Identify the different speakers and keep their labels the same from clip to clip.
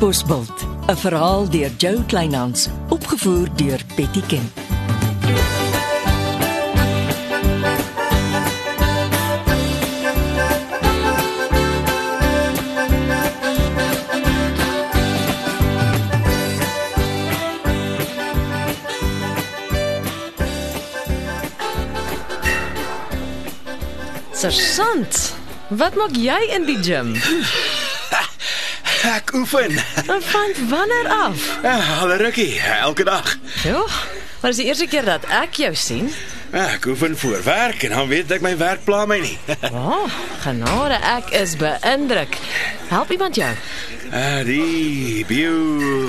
Speaker 1: Bosbult, 'n verhaal deur Jo Kleinhans, opgevoer deur Betty Ken.
Speaker 2: Sersant, wat maak jy in die gim?
Speaker 3: Ek oefen.
Speaker 2: En van wanneer af?
Speaker 3: Ah, Al 'n rukkie, elke dag.
Speaker 2: Jo, maar dis die eerste keer dat ek jou sien.
Speaker 3: Ah, Ek oefen voor werk en dan weet ek my werk pla my nie.
Speaker 2: O, oh, genade, ek is beïndruk. Help iemand jou?
Speaker 3: Ah, die bio,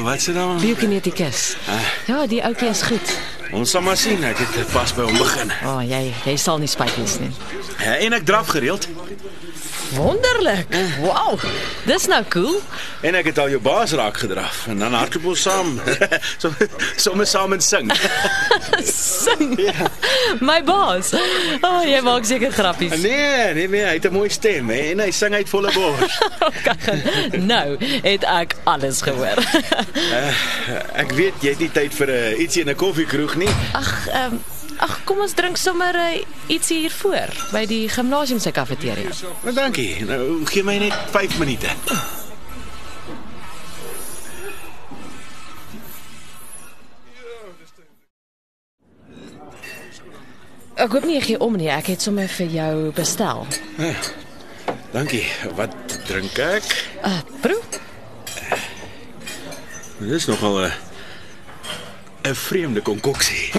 Speaker 3: wat se naam?
Speaker 2: Biokinetikus. Ja, die ouetjie is goed.
Speaker 3: Ons sal maar sien, ek het pas by hom begin.
Speaker 2: O, oh, jy jy sal nie spyt wees nie.
Speaker 3: Eh, En ek draf gereeld
Speaker 2: Wonderlik. Wow. Dis nou cool.
Speaker 3: en ek het al jou baas raak gedraf en dan hardloop ons saam. so sommer saam en sing.
Speaker 2: Sing. My baas. O, oh, jy maak seker grappies.
Speaker 3: Nee, nee, nee, hy het 'n mooi stem hè, en hy sing uit volle bors.
Speaker 2: Nou, het ek alles gehoor.
Speaker 3: Eh, Ek weet jy het nie tyd vir 'n ietsie in 'n koffiekroeg nie.
Speaker 2: Ag, ehm ag kom ons drink sommer eh, iets hier voor by die gimnasium se kafeteria.
Speaker 3: Maar dankie. Nou gee my net 5 minute.
Speaker 2: Ek hoop nie jy gee om nie, ek het sommer vir jou bestel.
Speaker 3: Dankie. Wat drink ek?
Speaker 2: Uh, proe.
Speaker 3: Dit is nogal 'n 'n vreemde konkoksie.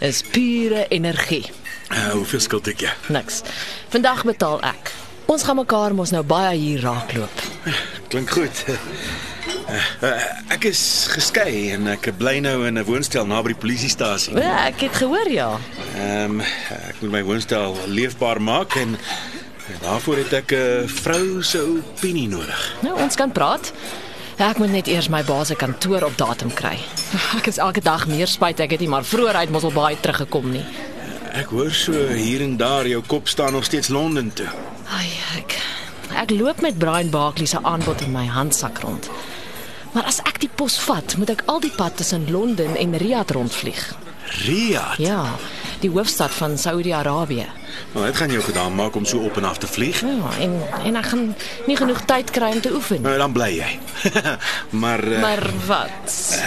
Speaker 2: Is pure energie.
Speaker 3: uh, hoeveel skuld ek jou?
Speaker 2: Niks. Vandag betaal ek. Ons gaan mekaar mos nou baie hier raakloop.
Speaker 3: Klink goed. Uh, uh, ek is geskei en ek bly nou in 'n woonstel naby die polisiestasie.
Speaker 2: Ja, ek het gehoor ja.
Speaker 3: Ehm um, ek moet my woonstel leefbaar maak en en daarvoor het ek 'n vrou se opinie nodig.
Speaker 2: Nou ons kan praat. Ek moet net eers my baas se kantoor op datum kry. Ek is elke dag meer spyt ek het nie maar vroeër uit Mosselbaai teruggekom nie.
Speaker 3: Ek hoor so hier en daar jou kop staan nog steeds Londen toe.
Speaker 2: Ai, ek ek loop met Brian Barkley se aanbod in my handsak rond. Maar as ek die pos vat, moet ek al die pad tussen Londen en Riyadh rondvlieg.
Speaker 3: Riyadh.
Speaker 2: Ja, die hoofstad van Saudi-Arabië.
Speaker 3: Nou, dit gaan jou gedaan maak om so op en af te vlieg.
Speaker 2: Ja, en en ek gaan nie genoeg tyd kry om te oefen.
Speaker 3: Nou dan bly jy. maar eh,
Speaker 2: Maar wat?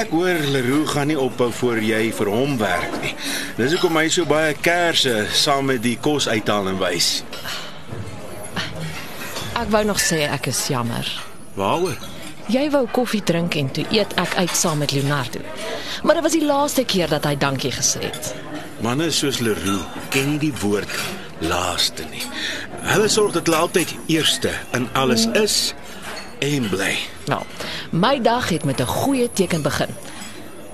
Speaker 3: Ek hoor Leroux gaan nie ophou voor jy vir hom werk nie. Dis hoekom hy so baie kersse saam met die kos uithaal en wys.
Speaker 2: Ek wou nog sê ek is jammer.
Speaker 3: Waaroor?
Speaker 2: Jy wou koffie drink en toe eet ek uit saam met Leonardo. Maar dit was die laaste keer dat hy dankie gesê het.
Speaker 3: Manne soos Leroux ken nie die woord laaste nie. Hulle sorg dat hulle altyd eerste in alles is en bly.
Speaker 2: Nou, my dag het met 'n goeie teken begin.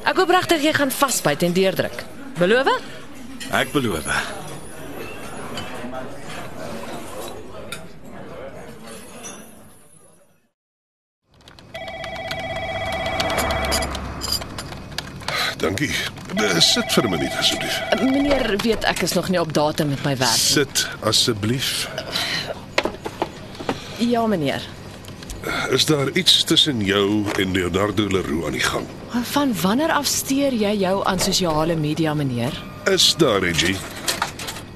Speaker 2: Ek hoop regtig jy gaan vasbyt en deurdruk. Beloof? Eh,
Speaker 3: Ek beloof.
Speaker 4: Dankie. Eh, Sit vir 'n minuut asseblief.
Speaker 2: Meneer weet ek is nog nie op datum met my werk.
Speaker 4: Sit asseblief.
Speaker 2: Ja, meneer.
Speaker 4: Is daar iets tussen jou en Leonardo Leroux aan die gang?
Speaker 2: Van wanneer af steur jy jou aan sosiale media, meneer?
Speaker 4: Is daar, Reggie?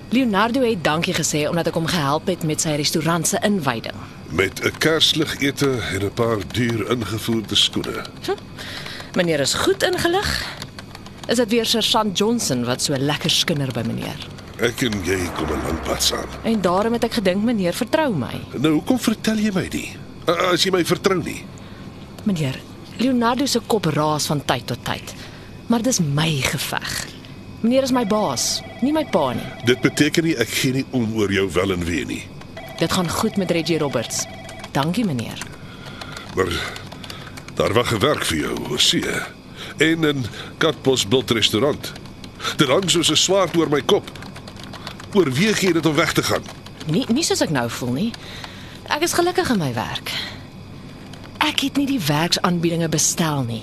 Speaker 2: Leonardo het dankie gesê omdat ek hom gehelp het met sy restaurant se inwyding.
Speaker 4: Met 'n kerslig ete en 'n paar duur ingevoerde skoene.
Speaker 2: Meneer is goed ingelig. Is dit weer Sergeant Johnson wat so lekker skinder by meneer?
Speaker 4: Ek en jy kom 'n lang pad saam.
Speaker 2: En daarom het ek gedink meneer vertrou my.
Speaker 4: Nou hoekom vertel jy my nie? A- As jy my vertrou nie.
Speaker 2: Meneer, Leonardo se kop raas van tyd tot tyd. Maar dis my geveg. Meneer is my baas, nie my pa nie.
Speaker 4: Dit beteken nie ek gee nie om oor jou wel en wee nie.
Speaker 2: Dit gaan goed met Reggie Roberts. Dankie meneer.
Speaker 4: Maar daar wag gewerk vir jou, oor see. En 'n Katbosbult restaurant. Dit hang soos 'n swaard oor my kop. Oorweeg jy dit om weg te gaan?
Speaker 2: Nie nie soos ek nou voel nie. Ek is gelukkig in my werk. Ek het nie die werksaanbiedinge bestel nie.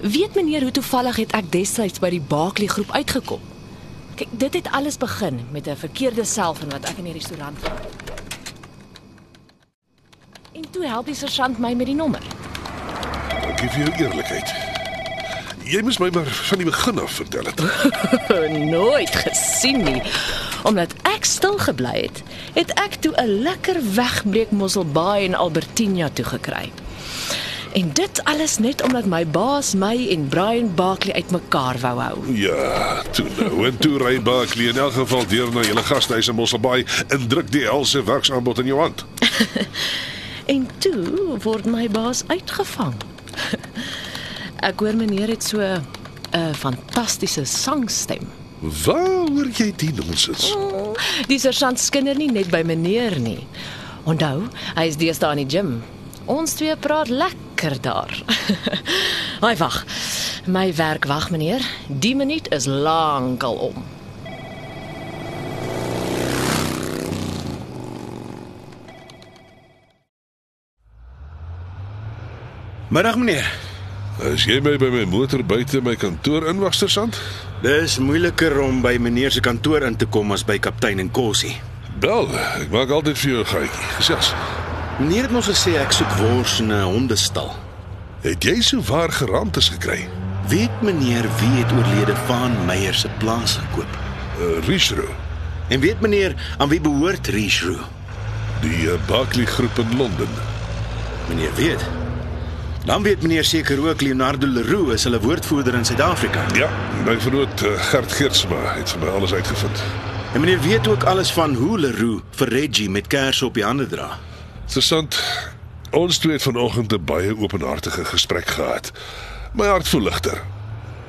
Speaker 2: Weet meneer hoe toevallig het ek destyds by die Baaklie groep uitgekom. Kyk, dit het alles begin met 'n verkeerde self en wat ek in die restaurant gaan. En toe help die sergeant my met die nommer.
Speaker 4: Dankie vir jou eerlikheid. Jy moes my maar van die begin af vertel het.
Speaker 2: Nooit gesien nie. Omdat ek stil gebly het, het ek toe 'n lekker wegbreek Mosselbaai en Albertina toe gekry. En dit alles net omdat my baas my en Brian Barkley uitmekaar wou hou.
Speaker 4: Ja, toe nou. En toe ry Barkley in elk geval deur na julle gasthuis in Mosselbaai en druk die helse werksaanbod in jou hand.
Speaker 2: En toe word my baas uitgevang. Ek hoor meneer het so 'n fantastiese sangstem.
Speaker 4: Waar hoor jy die nonsens?
Speaker 2: Die sergeant skinder nie net by meneer nie. Onthou, hy is deesdae in die gim. Ons twee praat lekker daar. Haai wag. My werk wag meneer. Die minuut is lankal om.
Speaker 3: Middag meneer.
Speaker 4: As jy my by my motor buite my kantoor inwag, sergeant,
Speaker 3: Dis moeiliker om by meneer se kantoor in te kom as by kaptein en Kossie.
Speaker 4: bel. Ek maak altyd vir jou 'n gaatjie. Gesels.
Speaker 3: Meneer het ons gesê ek soek wors in 'n hondestal.
Speaker 4: Het jy so waar geraamtes gekry?
Speaker 3: Weet meneer wie het oorlede van Meyer se plaas gekoop?
Speaker 4: Uh, Richro,
Speaker 3: En weet meneer aan wie behoort Richroo?
Speaker 4: die uh, Barkley groep in Londen.
Speaker 3: Meneer weet. Dan weet meneer seker ook Leonardo Leroux is hulle woordvoerder in Suid-Afrika.
Speaker 4: Ja, my vernoot uh, Gert Geertsma het vir my alles uitgevind.
Speaker 3: En meneer weet ook alles van hoe Leroux vir Reggie met kers op die hande dra.
Speaker 4: Sergeant, ons twee het vanoggend 'n baie openhartige gesprek gehad. My hart voel ligter.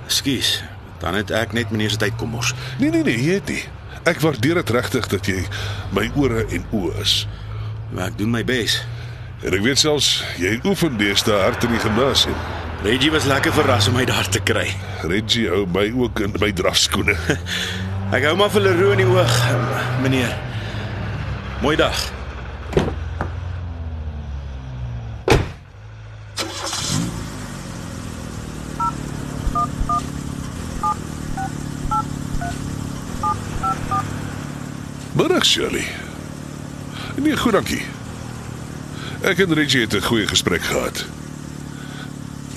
Speaker 3: Ekskuus, dan het ek net meneer se tyd kom mors.
Speaker 4: Nee nee nee, jy het nie. Ek waardeer dit regtig dat jy my ore en oë is.
Speaker 3: Maar ek doen my bes.
Speaker 4: En ek weet selfs jy oefen deesdae hard in die gimnasium.
Speaker 3: Reggie was lekker verras om my daar te kry.
Speaker 4: Reggie hou my ook in my drafskoene.
Speaker 3: Ek hou maar vir Leroux in die oog, meneer. Mooi dag.
Speaker 4: Middag Shirley. Nee, goed dankie. Ek en Reggie het 'n goeie gesprek gehad.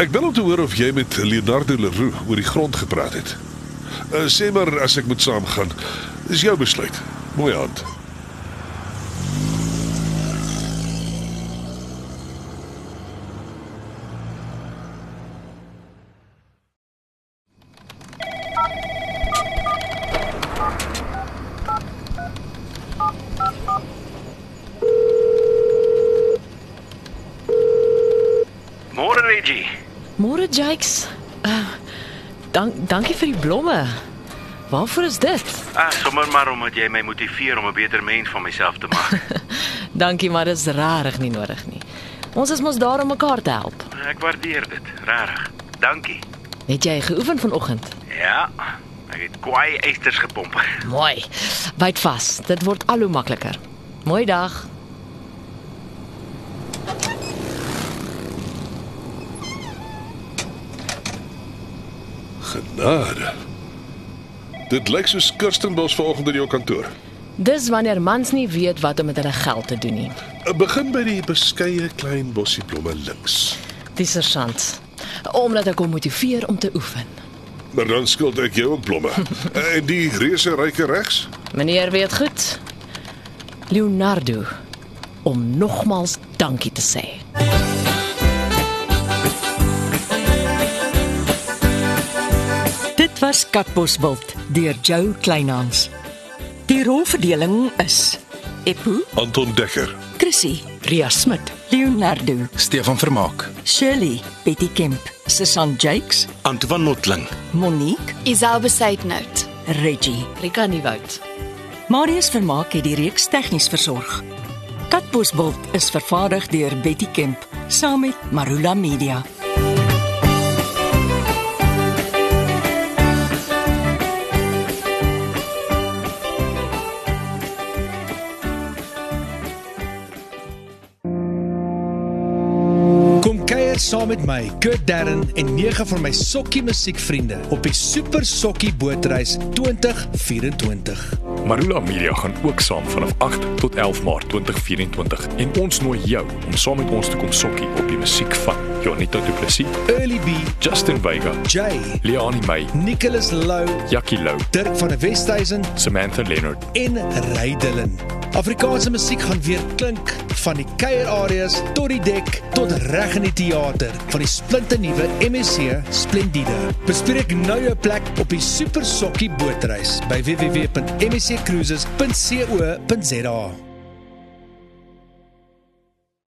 Speaker 4: Ek wil om te hoor of jy met Leonardo Leroux oor die grond gepraat het. Uh, sê maar as ek moet saamgaan, is jou besluit. Mooi aand.
Speaker 3: Môre Reggie.
Speaker 2: Môre Jakes. Uh, dank dankie vir die blomme. Waarvoor is dit?
Speaker 3: Ag, Ah, sommer maar omdat jy my motiveer om 'n beter mens van myself te maak.
Speaker 2: Dankie, maar dis rarig nie nodig nie. Ons is mos daar om mekaar te help.
Speaker 3: Ek waardeer dit, regtig. Dankie.
Speaker 2: Het jy geoefen vanoggend?
Speaker 3: Ja, ek het kwaai eisters gepomp.
Speaker 2: Mooi. Byt vas. Dit word al hoe makliker. Mooi dag.
Speaker 4: Genade. Dit lyk soos Kirstenbos vanoggend in jou kantoor.
Speaker 2: Dis wanneer mans nie weet wat om met hulle geld te doen nie.
Speaker 4: Uh, Begin by die beskeie klein bossie blomme links.
Speaker 2: Dis sergeant. Omdat ek hom motiveer om te oefen.
Speaker 4: Maar dan skuld ek jou ook blomme. Uh, En die reuse ryke regs?
Speaker 2: Meneer weet goed. Leonardo om nogmaals dankie te sê.
Speaker 1: Dit was Katbosveld deur Jo Kleinhans. Die rolverdeling is Epo,
Speaker 4: Anton Dekker.
Speaker 1: Chrissy, Ria Smit, Leonardo,
Speaker 5: Stefan Vermaak.
Speaker 1: Shirley, Betty Kemp, Susan Jakes,
Speaker 3: Antoine Notling.
Speaker 1: Monique,
Speaker 6: Isel besluit nou.
Speaker 1: Reggie.
Speaker 2: Rika Nieuwoud.
Speaker 1: Marius Vermaak het die reeks tegnies versorg. Katbosveld is vervaardig deur Betty Kemp saam met Marula Media.
Speaker 7: Kom kuier saam met my, Kurt Darren en nege van my sokkie musiekvriende op die Super Sokkie Bootreis 2024.
Speaker 5: Marula Media gaan ook saam vanaf 8 tot 11 Maart 2024 en ons nooi jou om saam met ons te kom sokkie op die musiek van Jonita Du Plessis,
Speaker 7: Early B,
Speaker 5: Justin Vega,
Speaker 7: Jay,
Speaker 5: Leani May,
Speaker 7: Nicholas Lou,
Speaker 5: Jackie Lou,
Speaker 7: Dirk van der Westhuizen
Speaker 5: Samantha Leonard
Speaker 7: en Ray Dillon. Afrikaanse musiek gaan weer klink van die kuierareas tot die dek tot reg in die teater van die splinternuwe MSC Splendide. Bespreek nou jou plek op die Super Sokkie bootreis by www.msccruises.co.za.